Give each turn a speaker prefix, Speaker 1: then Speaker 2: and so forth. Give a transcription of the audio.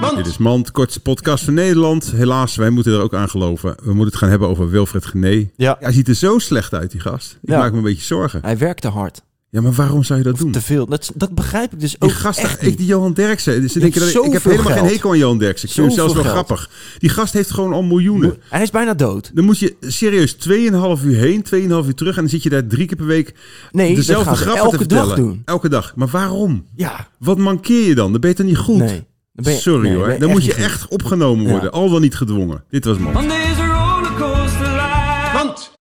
Speaker 1: Mand.
Speaker 2: Dit is Mand, kortste podcast van Nederland. Helaas, wij moeten er ook aan geloven. We moeten het gaan hebben over Wilfred Gené.
Speaker 1: Ja.
Speaker 2: Hij ziet er zo slecht uit, die gast. Ik
Speaker 1: Ja.
Speaker 2: maak me een beetje zorgen.
Speaker 1: Hij werkte hard.
Speaker 2: Ja, maar waarom zou je dat doen?
Speaker 1: Te veel. Dat, dat begrijp ik dus
Speaker 2: Die
Speaker 1: ook
Speaker 2: gast,
Speaker 1: echt
Speaker 2: ik,
Speaker 1: niet.
Speaker 2: die Johan Derksen. Dus ze
Speaker 1: Die
Speaker 2: denken dat
Speaker 1: heeft
Speaker 2: ik, ik heb
Speaker 1: zoveel
Speaker 2: helemaal geen
Speaker 1: geld.
Speaker 2: hekel aan Johan Derksen. Ik vind hem zelfs wel
Speaker 1: Zoveel geld.
Speaker 2: grappig. Die gast heeft gewoon al miljoenen.
Speaker 1: Hij is bijna dood.
Speaker 2: Dan moet je serieus 2,5 uur heen, 2,5 uur terug. En dan zit je daar drie keer per week
Speaker 1: Nee, dat
Speaker 2: dezelfde
Speaker 1: gaan we
Speaker 2: grappen te
Speaker 1: elke dag
Speaker 2: vertellen.
Speaker 1: doen.
Speaker 2: Elke dag. Maar waarom?
Speaker 1: Ja.
Speaker 2: Wat mankeer je dan? Dan ben je toch niet goed?
Speaker 1: Nee. Dan ben je-
Speaker 2: Sorry
Speaker 1: nee,
Speaker 2: hoor.
Speaker 1: ben
Speaker 2: Dan moet
Speaker 1: niet
Speaker 2: je
Speaker 1: goed.
Speaker 2: echt opgenomen
Speaker 1: Ja.
Speaker 2: worden. Al dan niet gedwongen. Dit was man.
Speaker 3: Monday.